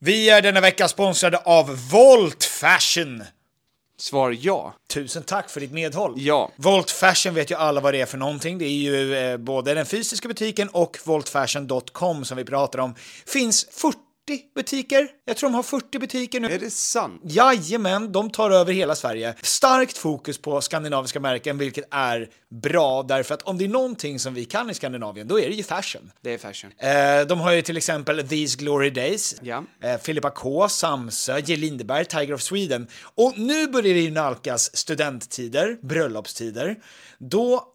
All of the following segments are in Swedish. Vi är denna vecka sponsrade av Volt Fashion. Svar ja. Tusen tack för ditt medhåll. Ja. Volt Fashion vet ju alla vad det är för någonting. Det är ju eh, både den fysiska butiken och voltfashion.com som vi pratar om. Finns 40 butiker. Jag tror de har 40 butiker nu. Är det sant? Jajamän, de tar över hela Sverige. Starkt fokus på skandinaviska märken, vilket är bra därför att om det är någonting som vi kan i Skandinavien, då är det ju fashion. Det är fashion. Eh, de har ju till exempel These Glory Days, Ja. eh, Filippa K, Samsö, J. Lindeberg, Tiger of Sweden. Och nu börjar det ju nalkas studenttider, bröllopstider. Då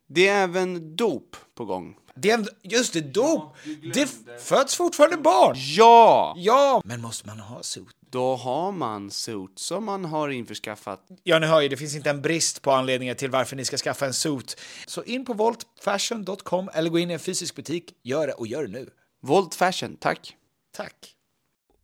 Det är även dop på gång. Det är, just det, dop! det föds fortfarande barn! Ja! Ja! Men måste man ha suit? Då har man suits som man har införskaffat. Ja, ni hör ju, det finns inte en brist på anledningar till varför ni ska skaffa en suit. Så in på voltfashion.com eller gå in i en fysisk butik. Gör det och gör det nu. Volt fashion, tack. Tack!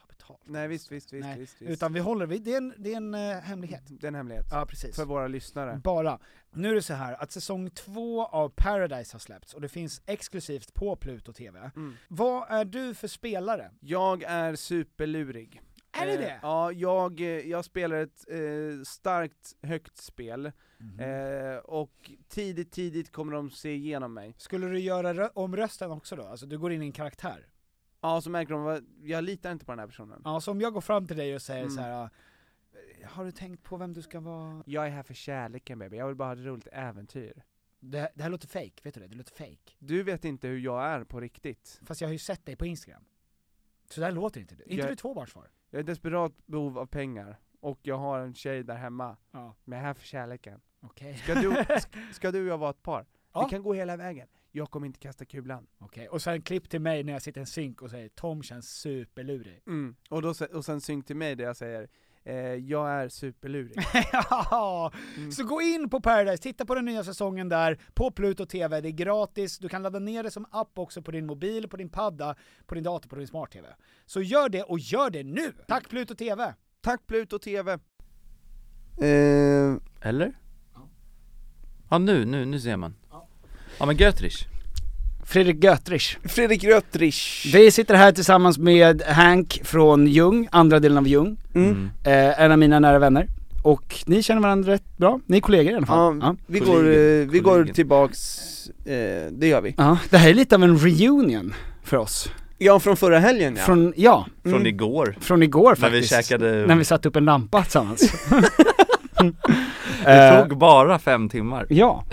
ta betalt. Nej visst, visst, visst. Nej, visst, visst. utan vi håller, vi, det är en, det är en eh, hemlighet. Det är en hemlighet. Ja, precis. För våra lyssnare. Bara. Nu är det så här att säsong två av Paradise har släppts och det finns exklusivt på Pluto TV. Mm. Vad är du för spelare? Jag är superlurig. Är det Eh, det? Ja, jag, eh, jag spelar ett eh, starkt, högt spel. Mm. Eh, och tidigt, tidigt kommer de se igenom mig. Skulle du göra rö- om rösten också då? Alltså du går in i en karaktär? Ja, så märker de att jag litar inte på den här personen. Ja, så om jag går fram till dig och säger Mm. så här. "Ah, har du tänkt på vem du ska vara? Jag är här för kärleken baby, jag vill bara ha ett roligt äventyr. Det, det här låter fake, vet du det? Det låter fake. Du vet inte hur jag är på riktigt. Fast jag har ju sett dig på Instagram. Så där låter inte du. Är inte Jag- du tvåbarnsfar? Jag är i desperat behov av pengar, och jag har en tjej där hemma. Ja. Men jag är här för kärleken. Okej. Ska du, sk- ska du och jag vara ett par? Ja. Vi kan gå hela vägen. Jag kommer inte kasta kulan. Okej, och sen klipp till mig när jag sitter i en synk och säger Tom känns superlurig. Mm. Och, då, se- och sen synk till mig där jag säger, eh, jag är superlurig. Ja, Så gå in på Paradise, titta på den nya säsongen där, på Pluto TV, det är gratis, du kan ladda ner det som app också på din mobil, på din padda, på din dator, på din smart-TV. Så gör det, och gör det nu! Tack Pluto TV! Tack Pluto TV! Eh, Eller? Ja nu, nu, nu ser man Ja men Götrich Fredrik Götrich. Fredrik Röttrich! Vi sitter här tillsammans med Hank från Ljung, andra delen av Ljung, Mm. eh, en av mina nära vänner. Och ni känner varandra rätt bra, ni är kollegor i alla Ja, vi går, eh, vi går Kollegiet. tillbaks, eh, det gör vi. Ja, det här är lite av en reunion för oss. Ja, från förra helgen ja. Från, ja, Mm. Från igår. från igår När vi faktiskt. käkade- När vi satte upp en lampa tillsammans. Eh. Det tog bara fem timmar. Ja,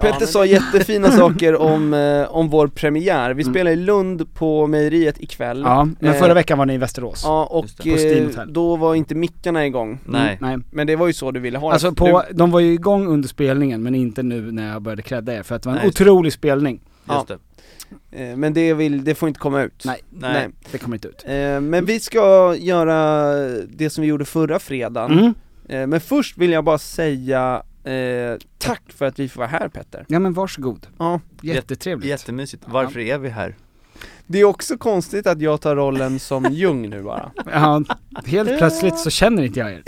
Petter sa jättefina saker om, eh, om vår premiär. Vi spelar i Lund på mejeriet ikväll. Mm. ja, men Eh, förra veckan var ni i Västerås. Ja, Just och det. På Steam eh, Hotel. då var inte mickarna igång. Mm, Nej. Mm, Nej. Men det var ju så du ville ha det. Alltså på, de var ju igång under spelningen men inte nu när jag började credda er för att det var en Nej, just det. otrolig spelning. Ja. Just det. du, eh, Men det, vill, det får inte komma ut. Nej. Nej. Det kommer inte ut. Eh, Men vi ska göra det som vi gjorde förra fredagen. Mm. Eh, Men först vill jag bara säga eh, tack för att vi får vara här Petter. Ja men varsågod. Ja. Jättetrevligt. Jättemysigt. Varför är vi här? Det är också konstigt att jag tar rollen som Ljung nu bara. Ja, helt plötsligt så känner inte jag er.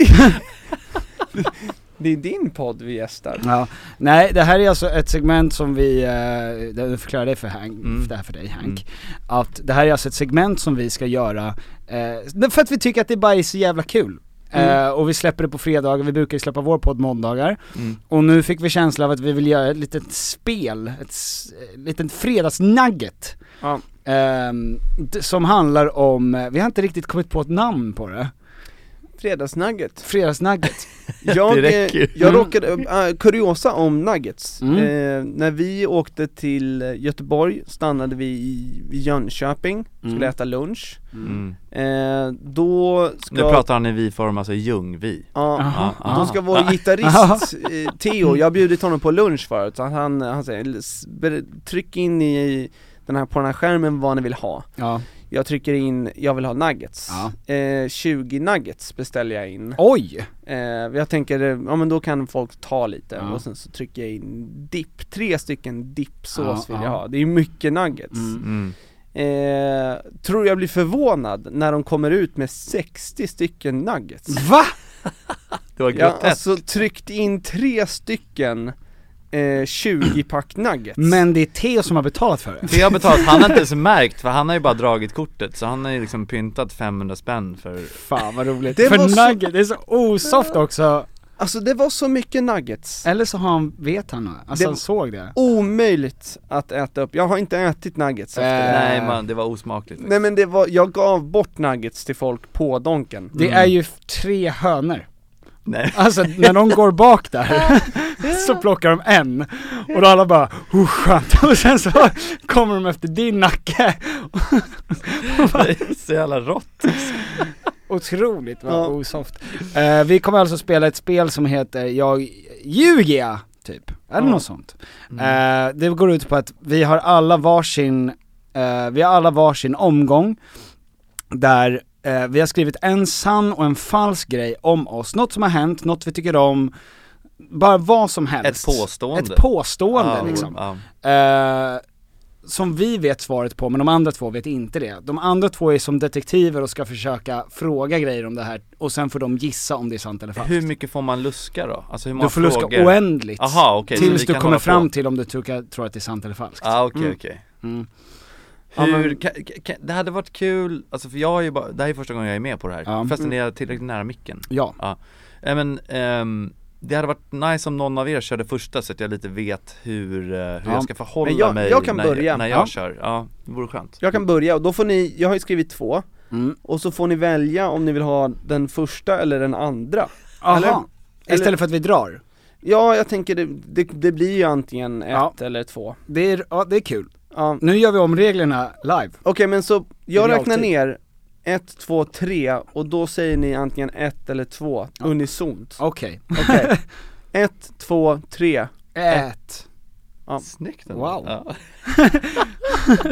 Det är din podd vi gästar. Ja. Nej, det här är alltså ett segment som vi, eh, jag förklarar det för, Hank, Mm. det här för dig Hank, att det här är alltså ett segment som vi ska göra eh, för att vi tycker att det bara är så jävla kul. Eh, och vi släpper det på fredagar, vi brukar ju släppa vår podd måndagar. Mm. Och nu fick vi känslan av att vi vill göra ett litet spel, ett s- eh, litet fredagsnugget. Ja. Ehm, d- som handlar om, eh, vi har inte riktigt kommit på ett namn på det, Fredagsnugget. fredagsnugget. Jag, Det räcker ju. eh, jag Mm. råkade, äh, kuriosa om nuggets. Mm. Eh, när vi åkte till eh, Göteborg stannade vi i i Jönköping, skulle Mm. äta lunch. Mm. Eh, då ska... Nu pratar Ah. han i vi-form, alltså Ljungvi. Ja, Ja, ja. Då ska vår gitarrist eh, Theo, jag har bjudit honom på lunch förut, så han, han säger "S- ber- tryck in i den här, på den här skärmen vad ni vill ha ja. Jag trycker in, jag vill ha nuggets Ja. eh, 20 nuggets beställer jag in Oj! eh, Jag tänker, eh, ja men då kan folk ta lite Ja. och sen så trycker jag in dipp, tre stycken dippsås Ja, vill jag ja. ha, det är ju mycket nuggets Mm. Mm. eh, Tror jag blir förvånad när de kommer ut med 60 stycken nuggets Va? Det var Ja, groteskt. alltså tryckt in tre stycken eh, 20-pack nuggets Men det är Theo som har betalat för det. Det jag har betalat, han har inte ens märkt för han har ju bara dragit kortet så han har ju liksom pyntat 500 spänn för Fan vad roligt. Det för var så- nugget, det är så osoft också. Alltså det var så mycket nuggets Eller så har han, vet han nog, alltså Det- han såg det. Omöjligt att äta upp, jag har inte ätit nuggets efter det Nej man, det var osmakligt Nej men det var, jag gav bort nuggets till folk på donken Det är ju f- tre hönor. Mm. Nej. Alltså när de går bak där, så plockar de en. Och då alla bara, oh skönt. Och sen så kommer de efter din nacke. Det är så jävla rått Otroligt vad Ja. osoft. Eh, vi kommer alltså spela ett spel som heter Jag ljuger jag, typ. Eller Ja. något sånt. Mm. Eh, det går ut på att vi har alla varsin, eh, vi har alla varsin omgång där eh, vi har skrivit en sann och en falsk grej om oss. Något som har hänt, något vi tycker om, bara vad som Ett helst. påstående Ah, Ett påstående Ja, liksom. ja. Eh, som vi vet svaret på men de andra två vet inte det. De andra två är som detektiver och ska försöka fråga grejer om det här och sen får de gissa om det är sant eller falskt. Hur mycket får man luska då? Alltså hur många du får luska frågor? oändligt Aha, okej, så tills vi du kan kommer hålla på. fram till om du tycker, tror att det är sant eller falskt. Ja ah, okej Mm. okej Mm. Ja, men- Hur, kan, kan, det hade varit kul, alltså för jag har ju bara, det här är första gången jag är med på det här, Ja. fastän är jag tillräckligt nära micken Ja, Nej men, ehm, det hade varit nice om någon av er körde första så att jag lite vet hur, eh, hur Ja. jag ska förhålla Men jag- mig jag kan när, börja. när jag Ja. kör, ja, det vore skönt Jag kan börja och då får ni, jag har ju skrivit två Mm. Och så får ni välja om ni vill ha den första eller den andra Aha. Eller- eller- Istället för att vi drar. Ja jag tänker det, det, det blir ju antingen ett Ja. eller två Det är, ja, det är kul. Ja, Nu gör vi om reglerna live. Okej men så, jag Det är räknar alltid. ner 1, 2, 3 och då säger ni antingen 1 eller 2 unisont Okej. Okej 1, 2, 3 Ett. Snyggt ändå. Wow. ja.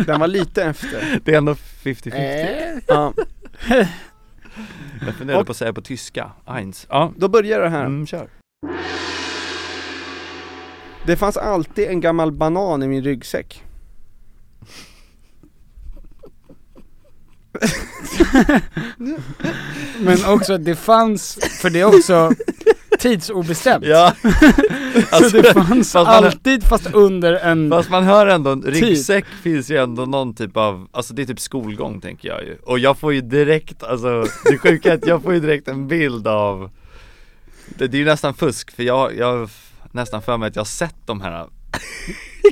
Den var lite efter Det är ändå 50-50 ja. Jag funderade på att säga på tyska, eins Ja, Då börjar det här mm, kör Det fanns alltid en gammal banan i min ryggsäck Men också det fanns, för det är också tidsobestämt. Ja, så det fanns fast man- alltid fast under en fast man hör ändå, ryggsäck finns ju ändå någon typ av, alltså det är typ skolgång tänker jag ju Och jag får ju direkt, alltså det sjuka är att jag får ju direkt en bild av Det, det är ju nästan fusk för jag, jag har f- nästan för mig att jag har sett de här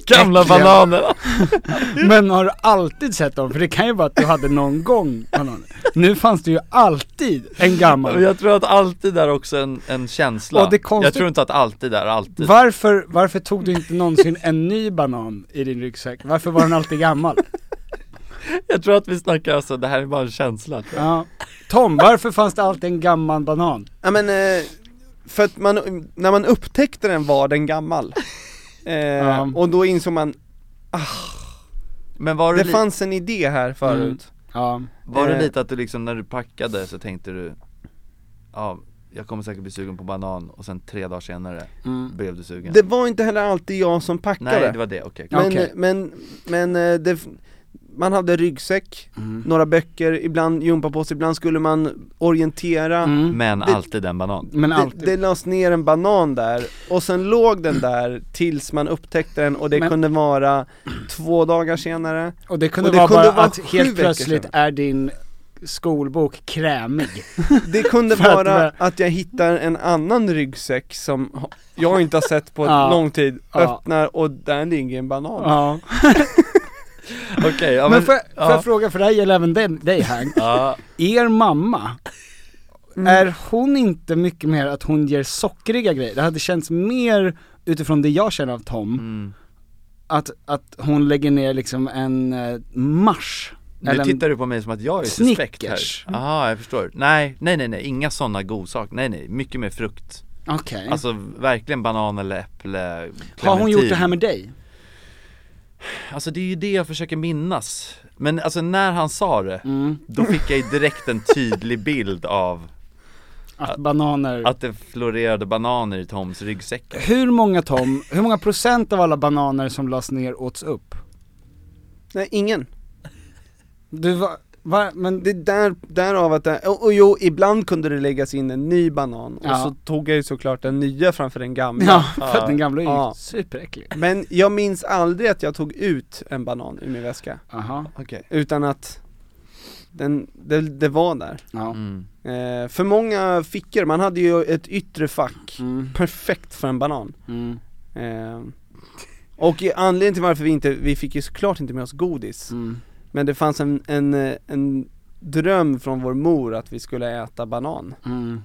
Gamla Äckliga. bananerna. Men har du alltid sett dem? För det kan ju vara att du hade någon gång bananer. Nu fanns det ju alltid en Men gammal. Jag tror att alltid är också en, en känsla. Och det är konstigt- Jag tror inte att alltid är alltid. Varför, varför tog du inte någonsin en ny banan i din ryggsäck? Varför var den alltid gammal? Jag tror att vi snackar alltså, det här är bara en känsla. tror jag. Ja. Tom, varför fanns det alltid en gammal banan? Ja men, eh, för att man, när man upptäckte den var den gammal. Eh, Ja. Och då insåg man, ah, Men var du, det li- fanns en idé här förut. Ja. var du eh, lite att du liksom när du packade så tänkte du, ja, jag kommer säkert bli sugen på banan och sen tre dagar senare Mm. blev du sugen. Det var inte heller alltid jag som packade. Nej, det var det, okej. Men, Okej. men, men eh, det, man hade ryggsäck, Mm. några böcker, ibland gympapåse, ibland skulle man orientera Men alltid en banan. Mm. Men det, alltid. det lades ner en banan där, och sen låg den där tills man upptäckte den och det Men- kunde vara två dagar senare Och det kunde Och det vara kunde bara vara att sju helt veckor plötsligt sedan. är din skolbok krämig. Det kunde För att vara med- att, jag hittar en annan ryggsäck som ha- jag inte har sett på Ja. lång tid, Ja. öppnar och där ligger en banan Ja. Okej, ja, Men får, jag- får ja. jag fråga, för det här gäller även dig, dig Hank. Ja, Er mamma, är hon inte mycket mer att hon ger sockriga grejer? Det hade känts mer, utifrån det jag känner av Tom, Mm. att, att hon lägger ner liksom en eh, marsch. nu Eller en- tittar du på mig som att jag är suspekt Snickers. här. Jaha, jag förstår. Nej, nej, nej, nej, inga sådana godsaker. Nej, nej, mycket mer frukt. Okej. Alltså verkligen banan eller äpple, clementin. Mm. Har hon gjort det här med dig? Alltså det är ju det jag försöker minnas. Men alltså när han sa det, Mm. då fick jag ju direkt en tydlig bild av Att Alltså- bananer... att det florerade bananer i Toms ryggsäck. Hur många Tom, hur många procent av alla bananer som lades ner åts upp? Nej, ingen Du var, va, men Det är där, därav att det, och, och jo, ibland kunde det läggas in en ny banan Ja. och så tog jag ju såklart den nya framför den gamla Ja, för att den gamla är ju Ja. superäcklig. Men jag minns aldrig att jag tog ut en banan ur min väska, Aha, Okej. utan att den, det, det var där ja. Mm. eh, För många fickor, man hade ju ett yttre fack, Mm, perfekt för en banan mm, eh, Och i- anledningen till varför vi inte, vi fick ju såklart inte med oss godis mm. Men det fanns en, en, eh, en dröm från vår mor att vi skulle äta banan Mm.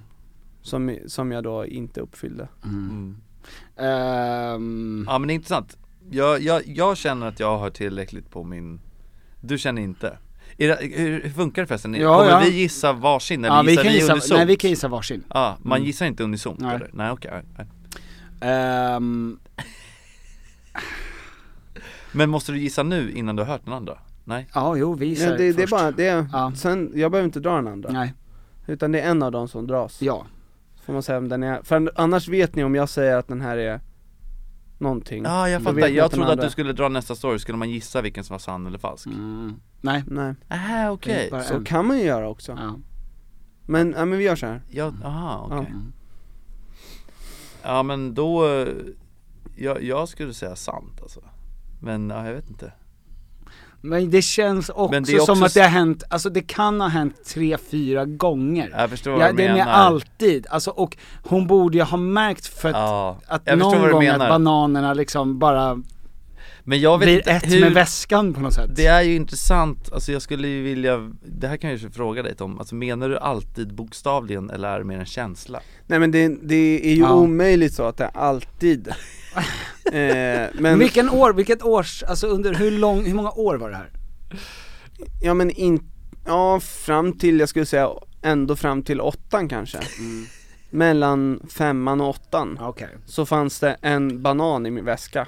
som, som jag då inte uppfyllde Mm. Ehm, Ja men det är intressant. Jag, jag, jag känner att jag har tillräckligt på min, du känner inte. Är det, hur hur funkar det förresten? Ja, Kommer ja. vi gissa varsin eller ja, vi gissar kan gissa, unisont? nej vi kan gissa varsin. Ja, Ah, man gissar inte unisont Nej. eller? Mm. Nej okej. nej. Ehm, Men måste du gissa nu innan du har hört den andra? Nej? ja, jo vi gissar Nej, det, det är först. bara, det är, Ja. sen, jag behöver inte dra den andra Nej, Utan det är en av dem som dras ja. Får man säga om den är, för annars vet ni om jag säger att den här är någonting Ja ah, jag Då fattar, vet ni jag den trodde att andra. du skulle dra nästa story, skulle man gissa vilken som var sann eller falsk? Mm. Nej, Nej, Ah, det okej, är bara så en. kan man ju göra också Ja. Men, ja, men vi gör så här. ja, aha, okej Ja. Ja men då, eh, jag, jag skulle säga sant alltså Men ja, jag vet inte Men det känns också, Men det är också som att s- det har hänt, alltså det kan ha hänt tre, fyra gånger. Jag förstår vad ja, du det menar är alltid, alltså och hon borde ju ha märkt för att, Ja, att jag förstår någon vad du gång att menar bananerna liksom bara Men jag vet blir inte ett hur, med väskan på något sätt. det är ju intressant, alltså jag skulle ju vilja, det här kan jag ju fråga dig Tom, alltså menar du alltid bokstavligen eller är det mer en känsla? Nej men det, det är ju Ja. omöjligt så att det alltid eh, Men, Vilken år, vilket års, alltså under hur lång, hur många år var det här? ja men in, ja fram till, jag skulle säga ändå fram till åttan kanske Mellan femman och åttan Okej. så fanns det en banan i min väska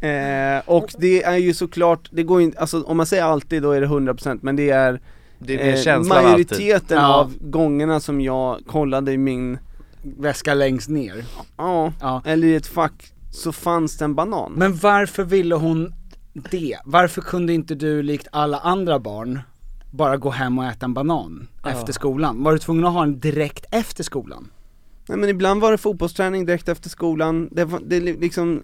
eh, Och det är ju såklart, det går ju inte, alltså om man säger alltid då är det 100% men det är Det är mer eh, känslan alltid majoriteten Ja. av gångerna som jag kollade i min, Väska längst ner. ja, Ja. eller i ett fack, så fanns det en banan Men varför ville hon det? Varför kunde inte du likt alla andra barn bara gå hem och äta en banan efter skolan? Var du tvungen att ha en direkt efter skolan? Nej men ibland var det fotbollsträning direkt efter skolan, det, var- det li- liksom,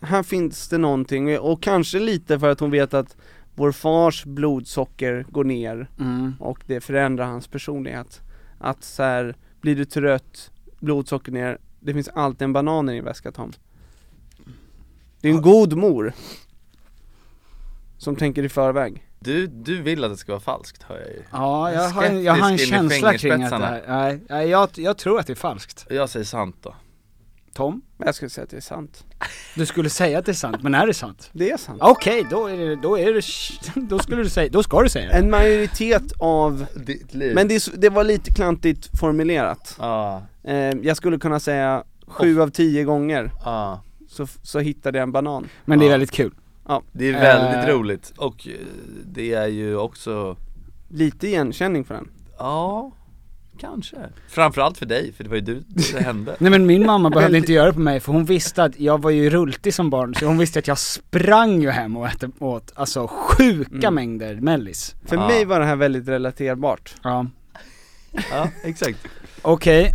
här finns det någonting och, och kanske lite för att hon vet att vår fars blodsocker går ner och det förändrar hans personlighet. Att så här, blir du trött, blodsocker ner, det finns alltid en banan i din väska Tom. Det är en god mor Som tänker i förväg Du, du vill att det ska vara falskt hör jag ju Ja, jag är har, en- jag har en skeptisk in i känsla kring att det fingerspetsarna. här, nej, nej jag, jag tror att det är falskt. Jag säger sant då Tom, Men jag skulle säga att det är sant du skulle säga att det är sant, men är det sant? Det är sant Okej, då är det, då är det, då skulle du säga, då ska du säga det. En majoritet av Ditt liv Men det, är s- det var lite klantigt formulerat Ja, eh, Jag skulle kunna säga sju av tio gånger ja så, f- så hittade jag en banan Men det är väldigt kul. Det är väldigt Eh. roligt och eh, det är ju också, Lite igenkänning för den ja, kanske Framförallt för dig, för det var ju du det hände Nej men min mamma behövde inte göra det på mig för hon visste att jag var ju rultig som barn så hon visste att jag sprang ju hem och åt, åt alltså sjuka Mm. mängder mellis. För Ah. mig var det här väldigt relaterbart Ja. Ja, exakt Okej,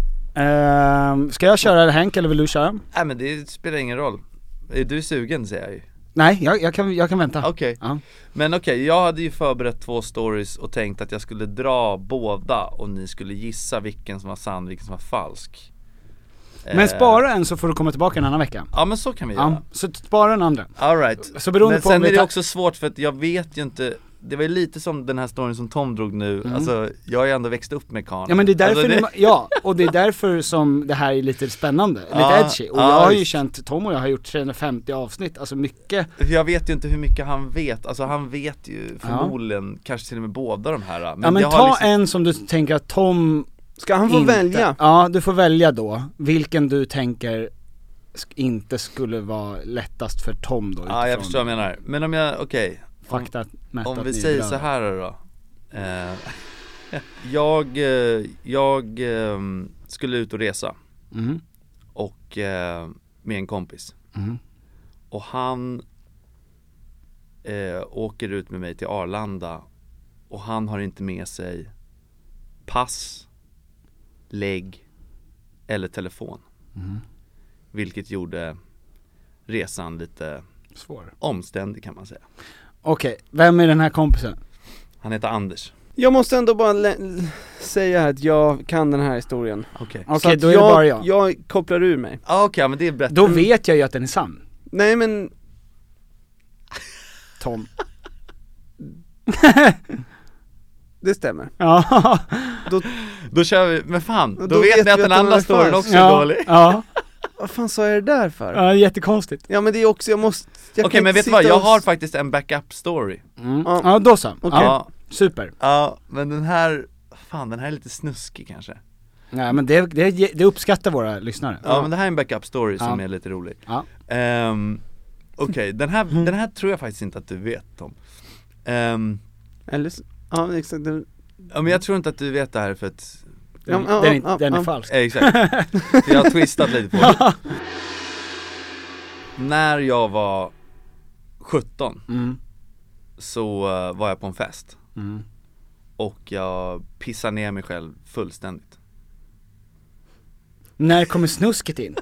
ehm, ska jag köra Henk eller vill du köra? Nej men det spelar ingen roll Är du sugen säger jag ju Nej, jag, jag, kan, jag kan vänta. Okej Ja. Men okej, jag hade ju förberett två stories och tänkt att jag skulle dra båda och ni skulle gissa vilken som var sann, vilken som var falsk Men Eh, spara en så får du komma tillbaka en annan vecka. Ja men så kan vi Ja, göra så spara den andra. Alright, Så beroende men på om sen vi är det tar- också svårt för att jag vet ju inte Det var ju lite som den här storyn som Tom drog nu, alltså jag har ju ändå växt upp med Karin Mm. Ja men det är därför, alltså, ni- ja, och det är därför som det här är lite spännande, lite Ja, edgy. Och ja, jag har ju visst. känt, Tom och jag har gjort 350 avsnitt, alltså mycket För jag vet ju inte hur mycket han vet, alltså han vet ju förmodligen kanske till och med båda de här Ja men jag ta har liksom, en som du tänker att Tom Ska han få inte, välja? Ja, du får välja då, vilken du tänker sk- inte skulle vara lättast för Tom då Ja jag förstår vad jag menar, men om jag, okej om- Fakta Om vi säger så här då eh, Jag, eh, jag eh, skulle ut och resa mm. och eh, med en kompis Mm. och han eh, åker ut med mig till Arlanda och han har inte med sig pass, lägg eller telefon. Mm. Vilket gjorde resan lite Svår omständig kan man säga. Okej, vem är den här kompisen? Han heter Anders. Jag måste ändå bara lä- l- säga här att jag kan den här historien Okej. Okej, Så att då är det jag, Mm. bara jag. Jag kopplar ur mig Ah, Okej, ja, men det är bättre. Då vet jag ju att den är sann, Nej men, Tom det stämmer Ja, Då kör vi, men fan, då, Då vet vet ni att vi den att den andra är storyn falsk. också är ja, dålig ja, Vad fan sa jag det där för? ja, jättekonstigt Ja men det är också, jag måste jag Okej kan men inte vet du vad, sitta jag och- har faktiskt en backup story mm. Ja. Ja då så, ja, Ja, super ja, men den här, fan den här är lite snuskig kanske Nej men det, det, det uppskattar våra lyssnare Ja, men det här är en backup story som Ja. är lite rolig Ja. Ehm, Okej, den, här, den här tror jag faktiskt inte att du vet Tom Ehm, Eller, s- ja exakt, den, Ja men jag tror inte att du vet det här för att, Den, Ja, ja, den, är, ja, den är ja. falsk eh, exakt, jag har twistat lite på det När jag var 17 mm. så eh, var jag på en fest Mm. och jag pissade ner mig själv fullständigt När kommer snusket in?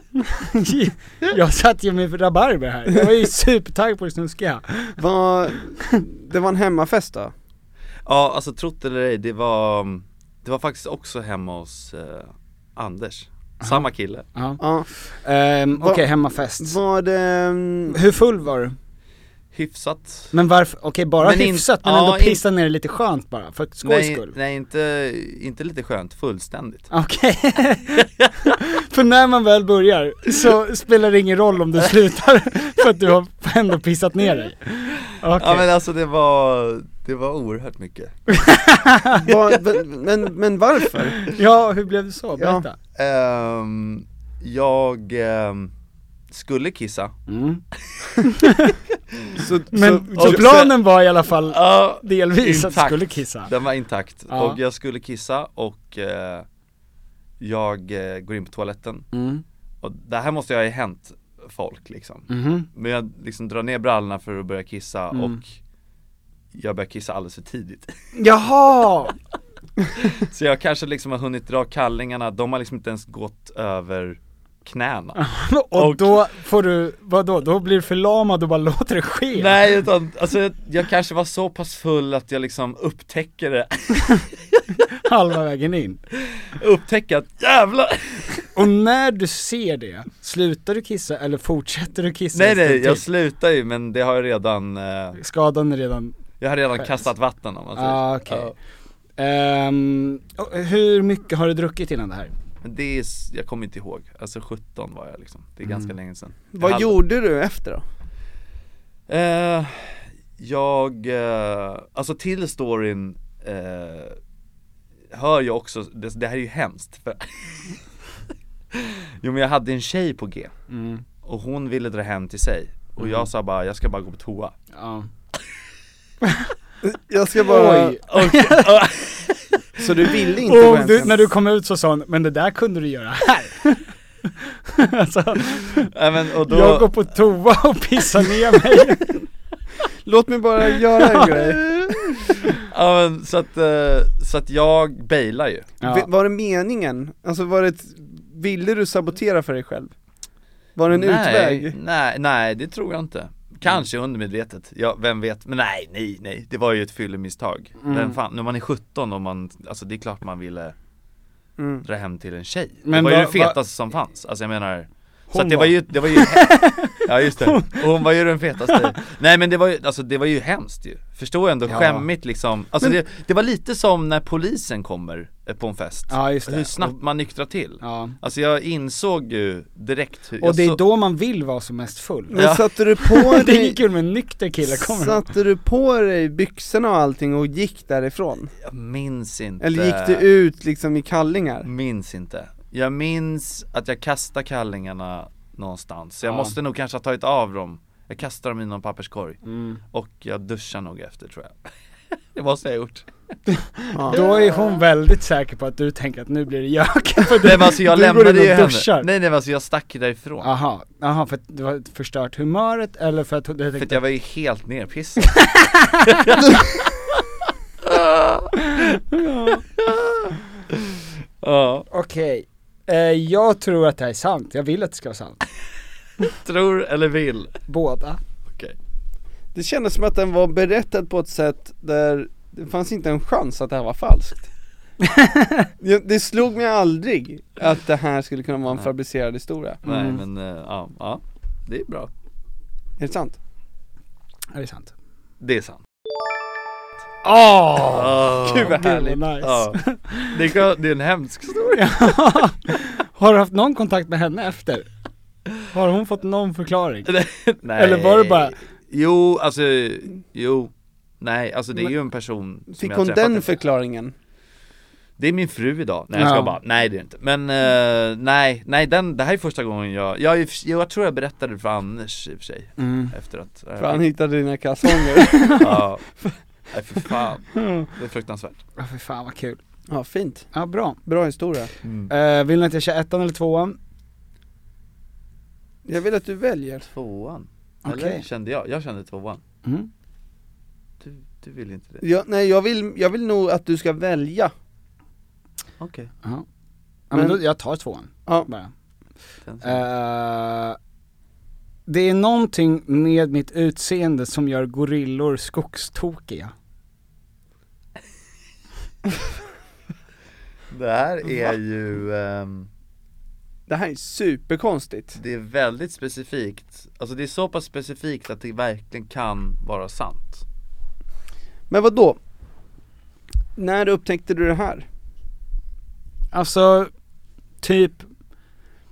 jag satt ju med rabarber här, jag var ju supertaggad på det snuskiga var, det var en hemmafest då? Ja, alltså trott eller ej, det var, mm, det var faktiskt också hemma hos eh, Anders, samma kille ja. Ja, Ehm, Okej, Va- hemmafest var det, mm, Hur full var du? Hyfsat Men varför, okej bara Men in- hyfsat men ja, ändå in- pissa ner det lite skönt bara, för skojs Nej, skull nej inte, inte lite skönt, fullständigt Okej, för när man väl börjar så spelar det ingen roll om du slutar för att du har ändå pissat ner dig Okej, Ja men alltså det var, det var oerhört mycket var, men, men, men varför? ja hur blev det så? Berätta Ehm, Jag ehm, skulle kissa mm. Så, Men så, så, och- planen var i alla fall Ja, delvis att du intakt. skulle kissa Den var intakt Ja. och jag skulle kissa och eh, jag eh, går in på toaletten Mm. och det här måste jag ha hänt folk liksom Mhm. Men jag liksom drar ner brallorna för att börja kissa Mm. och jag börjar kissa alldeles för tidigt Jaha! Så jag kanske liksom har hunnit dra kallingarna, de har liksom inte ens gått över knäna Och, Och- då får du, vadå, då blir du förlamad och bara låter det ske? Nej utan, alltså jag, jag kanske var så pass full att jag liksom upptäcker det Halva vägen in? Upptäcker att jävlar! Och när du ser det, slutar du kissa eller fortsätter du kissa Nej en stund nej, jag till? slutar ju men det har jag redan, eh, Skadan är redan jag har redan Skönt. kastat vatten om man säger Ah, så. okej. Alltså, Ja. Ehm, och hur mycket har du druckit innan det här? Men det är, s- jag kommer inte ihåg, alltså 17 var jag liksom, det är Mm. ganska länge sedan Vad Jag hade- gjorde du efter då? Eh, jag, eh, alltså till storyn eh, hör jag också, det, det här är ju hemskt för Jo men jag hade en tjej på G Mm. och hon ville dra hem till sig och jag sa bara, jag ska bara gå på toa Ja. Jag ska bara... Oj. Så du ville inte gå Och hem du, sen? när du kom ut så sa hon, men det där kunde du göra här. alltså, Nej, men, och då, jag går på toa och pissar ner mig. Låt mig bara göra en grej ja, men, så, att, eh, så att jag bailar ju V- Var det meningen? Alltså var det, ett, ville du sabotera för dig själv? Var det en utväg? Nej, nej det tror jag inte Kanske undermedvetet, ja, vem vet, men nej, nej, nej, det var ju ett fyllemisstag Mm. Vem fan, när man är 17 och man, alltså det är klart man ville Mm. dra hem till en tjej Men Det var ju va- det fetaste va- som fanns, alltså jag menar Så Hon att det var var- ju, det var ju Ja just det, och hon var ju den fetaste Nej men det var ju, alltså det var ju hemskt ju Förstår jag ändå, skämmigt liksom Alltså det, det var lite som när polisen kommer eh, på en fest Ja, just det. Hur snabbt man nyktrar till Ja. Alltså jag insåg ju direkt hur, Och jag det är så- då man vill vara som mest full. Men Ja. satte du på det är dig, kul med nykter kille, kommer de? satte du på dig byxorna och allting och gick därifrån? Jag minns inte Eller gick du ut liksom i kallingar? Minns inte Jag minns att jag kastade kallingarna någonstans Så jag Ja. måste nog kanske ha tagit av dem Jag kastade dem i någon papperskorg Mm. Och jag duschar nog efter tror jag Det måste jag ha gjort Då är hon väldigt säker på att du tänker att nu blir det jök. För Nej men alltså jag du går in lämnade och ju henne duschar. Nej nej men alltså jag stack därifrån Aha, aha, för att du har förstört humöret eller för att du För att tänkte jag var ju helt nerpissad Ja, Okej, eh, jag tror att det här är sant, jag vill att det ska vara sant. tror eller vill Båda. Okej Det kändes som att den var berättad på ett sätt där det fanns inte en chans att det här var falskt Ja, Det slog mig aldrig att det här skulle kunna vara en fabricerad historia Nej men eh, ja, ja, det är bra Är det sant? Är det sant? Det är sant Åh! oh, Gud vad härligt! nice. Ja, det, kan, det är en hemsk historia Har du haft någon kontakt med henne efter? Har hon fått någon förklaring? Nej. Eller var det bara- Jo, alltså, jo Nej, alltså det är ju en person som Fick jag hon har träffat den efter. förklaringen? Det är min fru idag, nej jag Ja. ska bara, nej det är det inte Men eh, nej, nej den, det här är första gången jag, jag, jag, jag tror jag berättade det för Anders i och för sig Mm. Efter att, eh, För han hittade dina kalsonger ja Nej för fan, det är fruktansvärt Ja, för fan vad kul. Ja fint, Ja, bra. bra historia Mm. Eh, vill ni att jag kör ettan eller tvåan? Jag vill att du väljer Tvåan, eller Okej. kände jag, jag kände tvåan Mm. Du, du vill inte det? jag, Nej jag vill, jag vill nog att du ska välja Okej Ja, men Men- då, jag tar tvåan. Ja. Bara. Den- Äh, Eh, det är någonting med mitt utseende som gör gorillor skogstokiga. Det här är ju ehm, Det här är superkonstigt Det är väldigt specifikt, alltså det är så pass specifikt att det verkligen kan vara sant Men vad då? När upptäckte du det här? Alltså, typ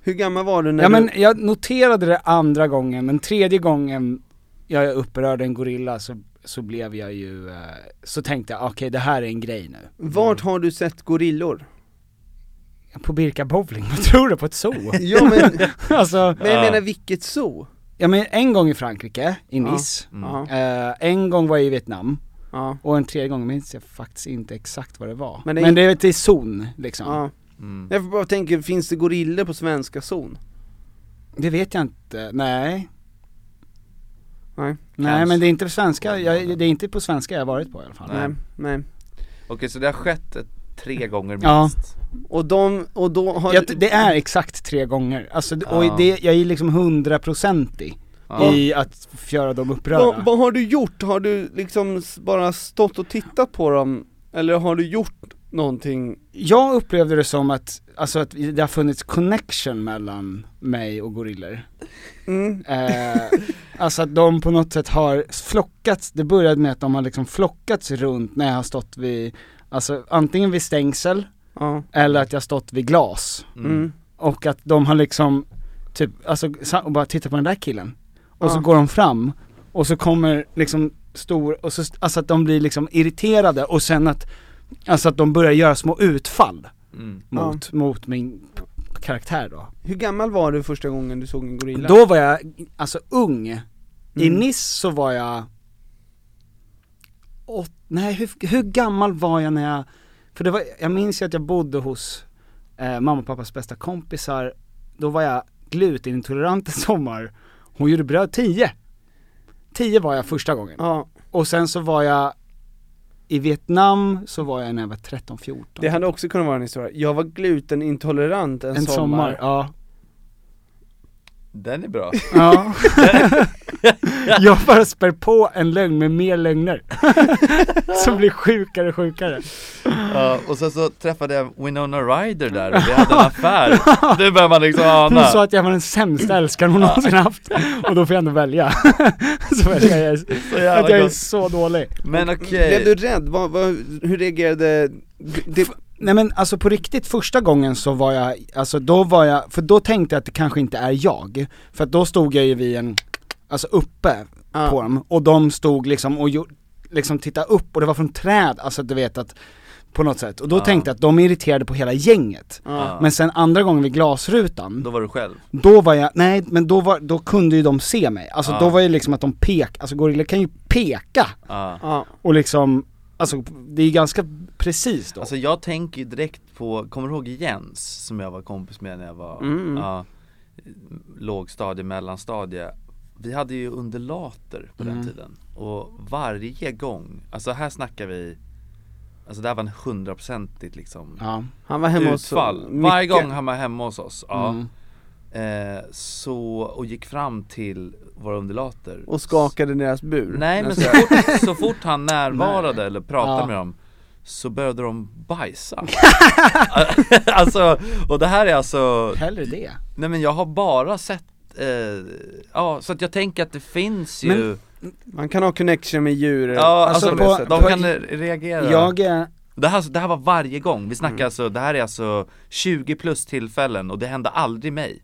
Hur gammal var du när ja, men du... jag noterade det andra gången, men tredje gången jag upprörde en gorilla så, så blev jag ju, eh, så tänkte jag okej det här är en grej nu. Vart har du sett gorillor? På Birka bowling, vad tror du? På ett zoo? Ja men, alltså, men jag menar vilket zoo? ja men en gång i Frankrike, i Nice, Mm. Ja, eh, en gång var jag i Vietnam ja, och en tredje gång minns jag faktiskt inte exakt vad det var. Men Men det det är- är, men det är zon liksom. ja. Jag får bara tänka, finns det gorillor på svenska zon? Det vet jag inte, nej. Nej. Nej Kanske. men det är inte på svenska, jag, det är inte på svenska jag har varit på i alla fall. Nej, nej. Okej så det har skett ett- tre gånger minst? Ja. Och de, och då har Jag, du... det är exakt tre gånger, alltså, det- Ja. och det, jag är liksom hundraprocentig i att f- göra dem upprörda. Vad, vad har du gjort? Har du liksom s- bara stått och tittat på dem? Eller har du gjort någonting Jag upplevde det som att, alltså att det har funnits connection mellan mig och gorillor. Mm. Eh, alltså att de på något sätt har flockats, det började med att de har liksom flockats runt när jag har stått vid, alltså antingen vid stängsel Ja. eller att jag har stått vid glas. Mm. Och att de har liksom, typ, alltså sa- och bara titta på den där killen. Och så Ja. går de fram och så kommer liksom stor, och så, alltså att de blir liksom irriterade och sen att, alltså att de börjar göra små utfall Mm. mot, mot min p- karaktär då. Hur gammal var du första gången du såg en gorilla? Då var jag, alltså ung. I Mm. Niss så var jag, åt, nej hur, hur gammal var jag när jag, för det var, jag minns ju att jag bodde hos eh, mamma och pappas bästa kompisar, då var jag glutenintolerant en sommar, hon gjorde bröd 10. 10 var jag första gången. Ja, Och sen så var jag, i Vietnam så var jag när jag var 13-14. det hade också kunnat vara en historia. Jag var glutenintolerant en, en sommar. sommar. ja. Den är bra. Ja. jag bara spär på en lögn med mer lögner. Som blir sjukare och sjukare. Ja, och sen så träffade jag Winona Ryder där och vi hade en affär. Det börjar man liksom Hon sa ana. att jag var den sämsta älskaren hon någonsin haft. Och då får jag ändå välja. så väljer jag att jag är gott. så dålig. Men Blev okej. du rädd? Vad, vad, hur reagerade... Det, Nej men alltså på riktigt första gången så var jag, alltså då var jag, för då tänkte jag att det kanske inte är jag. För att då stod jag ju vid en, alltså uppe Ja. på dem och de stod liksom och gjorde, liksom tittade upp och det var från träd, alltså du vet att, på något sätt. Och då Ja. tänkte jag att de är irriterade på hela gänget. Ja. Men sen andra gången vid glasrutan, Då var du själv. då var jag, nej men då var, då kunde ju de se mig. Alltså Ja. då var ju liksom att de pek, alltså gorillor kan ju peka Ja. ja. och liksom, alltså det är ju ganska precis då. Alltså jag tänker ju direkt på, kommer du ihåg Jens som jag var kompis med när jag var Mm. ja, lågstadie, mellanstadie? Vi hade ju undulater på Mm. den tiden och varje gång, alltså här snackar vi, alltså det här var en hundraprocentigt liksom ja. Han var hemma hos utfall. Varje gång han var hemma hos oss, ja. Eh, så, och gick fram till våra undulater Och skakade deras bur. Nej men så fort, så fort han närvarade eller pratade Ja. med dem så började de bajsa Alltså, och det här är alltså, Hellre det. nej men jag har bara sett eh, Ja, så att jag tänker att det finns ju, Men- Man kan ha connection med djur. ja alltså alltså, på- de på- kan reagera Jag, eh, det, här, det här var varje gång, vi Mm. snackar alltså, det här är alltså 20 plus tillfällen och det hände aldrig mig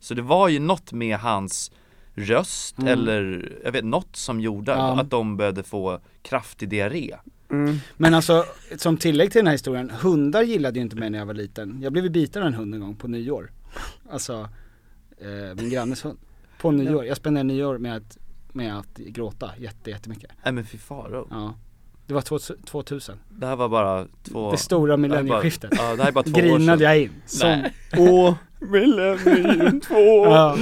Så det var ju något med hans röst eller, jag vet, något som gjorde Mm. Ja. att de började få kraftig diarré men alltså som tillägg till den här historien, hundar gillade ju inte mig när jag var liten. Jag blev ju biten av en hund en gång på nyår. Alltså, eh, min grannes hund. På nyår, jag spenderade nyår med att, med att gråta jätte, jättemycket. Nej men fy faro. Ja. Det var två- 2000, Det här var bara två det stora det här är bara- millennieskiftet. Ja det här är bara två år Grinade sedan jag in. Som, Nej. Åh, millennium två. ja.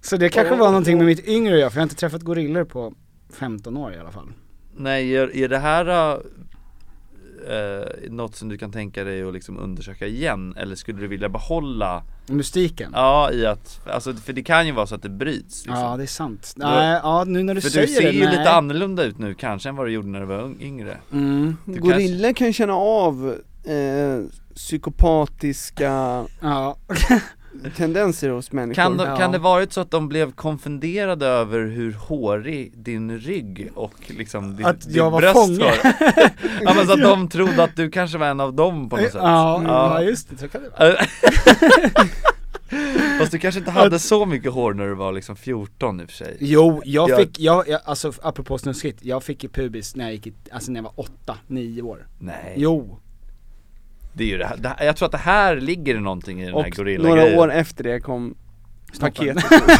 Så det kanske var någonting med mitt yngre jag, för jag har inte träffat gorillor på 15 år i alla fall. Nej, är, är det här äh, något som du kan tänka dig att liksom undersöka igen? Eller skulle du vilja behålla, Mystiken. ja i att, alltså för det kan ju vara så att det bryts liksom. Ja det är sant. Nej, ja nu när du För säger du ser det, ju nej. lite annorlunda ut nu kanske än vad du gjorde när du var ung- yngre Mm, du Gorillor kan känna av eh, psykopatiska ja. tendenser hos människor. Kan, de, Ja. kan det varit så att de blev konfunderade över hur hårig din rygg och liksom din, Att din jag var bröst fånge. var? ja men så att de trodde att du kanske var en av dem på något sätt Mm. Ja, ja just det, så kan det vara. Fast du kanske inte hade så mycket hår när du var liksom 14 i och för sig Jo, jag Jag- fick, jag, jag alltså apropå snuskigt, jag fick ju pubis när jag gick i, alltså när jag var åtta, nio år. Nej, Jo. det är ju det här, det här, jag tror att det här ligger det någonting i den Och här några gorillagrejen år efter det kom paketet.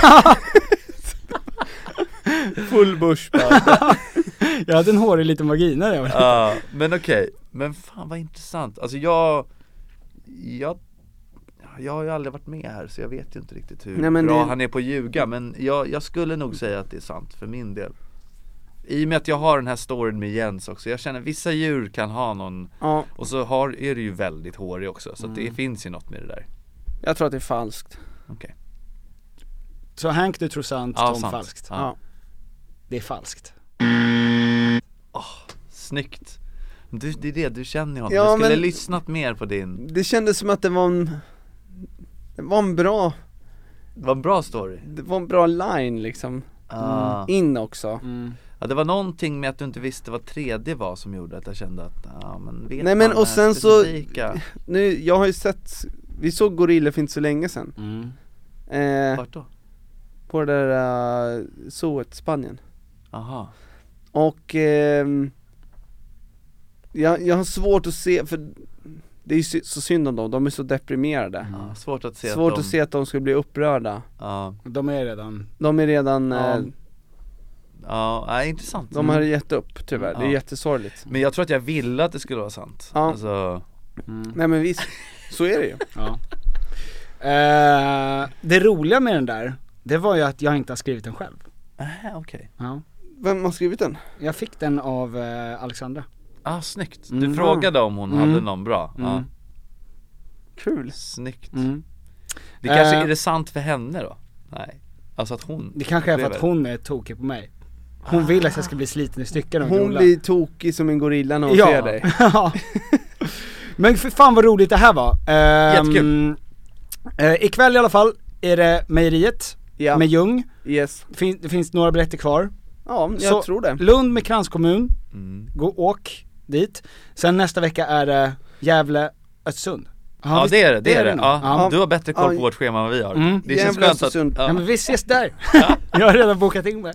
Full bush Jag hade en hårig liten vagina när jag var Ja, men okej, men fan vad intressant, alltså jag, jag jag har ju aldrig varit med här så jag vet ju inte riktigt hur Nej, men bra det- han är på att ljuga men jag, jag skulle nog säga att det är sant för min del I och med att jag har den här storyn med Jens också, jag känner vissa djur kan ha någon Ja, Och så har, är det ju väldigt hårig också så att Mm. det finns ju något med det där jag tror att det är falskt. Okej, Så Hank du tror sant, Ja, Tom sant. falskt. Ja. Ja. Det är falskt. snyggt Du, det är det, du känner ju honom. Ja, du skulle men- lyssnat mer på din, Det kändes som att det var en, det var en bra, det var en bra story. det var en bra line liksom, Ah. in också Ja, det var någonting med att du inte visste vad 3D var som gjorde att jag kände att, ja men vet Nej, men man och det här sen så- specifika? Nu, jag har ju sett, vi såg Gorilla för inte så länge sedan Mm. eh, Vart då? På det där uh, zooet, Spanien Aha. Och ehm, jag, jag har svårt att se, för det är ju sy- så synd om dem, de är så deprimerade Ja, svårt att se Svårt att de, att se att de skulle bli upprörda Ja, De är redan... De är redan, Ja, eh, ja, ja intressant. de har gett upp tyvärr, det är Ja. jättesorgligt Men jag tror att jag ville att det skulle vara sant. Ja. Alltså, Nej men visst, så är det ju Ja. Eh, det roliga med den där, det var ju att jag inte har skrivit den själv. äh, okej. Ja. Vem har skrivit den? Jag fick den av eh, Alexandra. Ah, snyggt. Du Mm. frågade om hon hade Mm. någon bra. Ja. Mm. Kul Snyggt. Mm. Det kanske, Eh. är det sant för henne då? Nej. Alltså att hon Det kanske är för upplever- att hon är tokig på mig. Hon vill att jag ska bli sliten i stycken och Hon grola. blir tokig som en gorilla när hon ser dig Ja. Men för fan vad roligt det här var. Ehm, Jättekul. eh, ikväll i alla fall är det Mejeriet Ja, med Ljung. yes Fin, det finns några biljetter kvar. Ja, jag Så- tror det Lund med kranskommun, Mm. gå åk dit. Sen nästa vecka är det Gävle, Östersund. Ja visst, det är det, det är det. nog. Ja, Ja. Du har bättre koll Ja. på vårt schema än vad vi har. Mm. Det känns Jävla skönt att, Östersund. ja ja. men vi ses där. jag har redan bokat in mig.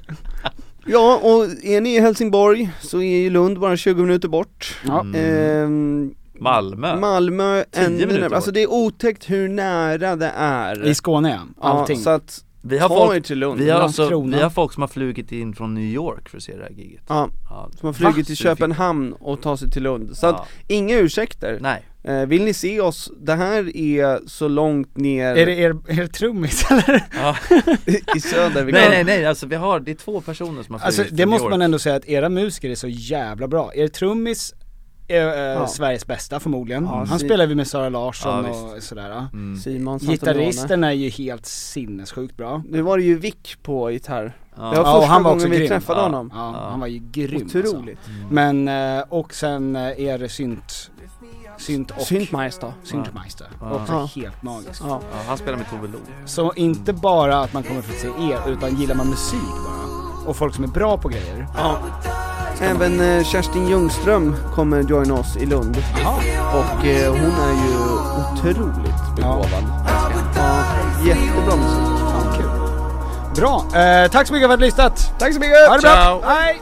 Ja, och är ni i Helsingborg så är ju Lund bara 20 minuter bort Ja. Mm. Ehm, Malmö. Malmö, ännu minuter närmare, bort. alltså det är otäckt hur nära det är I Skåne ja, allting. Ja, så att, vi har ta folk, er till Lund vi har, alltså, Landskrona. vi har folk som har flugit in från New York för att se det här giget. Ja, Ja. som har flugit Va? till Köpenhamn och tar sig till Lund, så att, Ja. inga ursäkter Nej. Eh, Vill ni se oss, det här är så långt ner Är det er, er trummis eller? Ja. i söder vi nej kan. nej nej, alltså vi har, det är två personer som har flugit Alltså till det New måste York. man ändå säga att era musiker är så jävla bra. Er trummis är eh, Sveriges bästa förmodligen. Ja, Han si- spelar vi med Sara Larsson Ja, och sådär. ja. Mm. Simon Santandone. Gitarristen är ju helt sinnessjukt bra. Nu var det ju Vick på gitarr Det Ja. var Ja, och första han var också gången vi grym. träffade Ja. honom Ja, han var ju grym Alltså. Otroligt Men, eh, och sen eh, är det synt, synt och Syntmeister Syntmeister. Ja. Också helt magiskt. Ja. Ja, han spelar med Tove Lo. Så inte bara att man kommer få se er, utan gillar man musik bara, och folk som är bra på grejer. Även eh, Kerstin Ljungström kommer joina oss i Lund Och eh, hon är ju otroligt begåvad ja. Jättebra musik Ja, kul. Bra, eh, tack så mycket för att ni har lyssnat. Tack så mycket. Ha det Ciao. bra. Hej.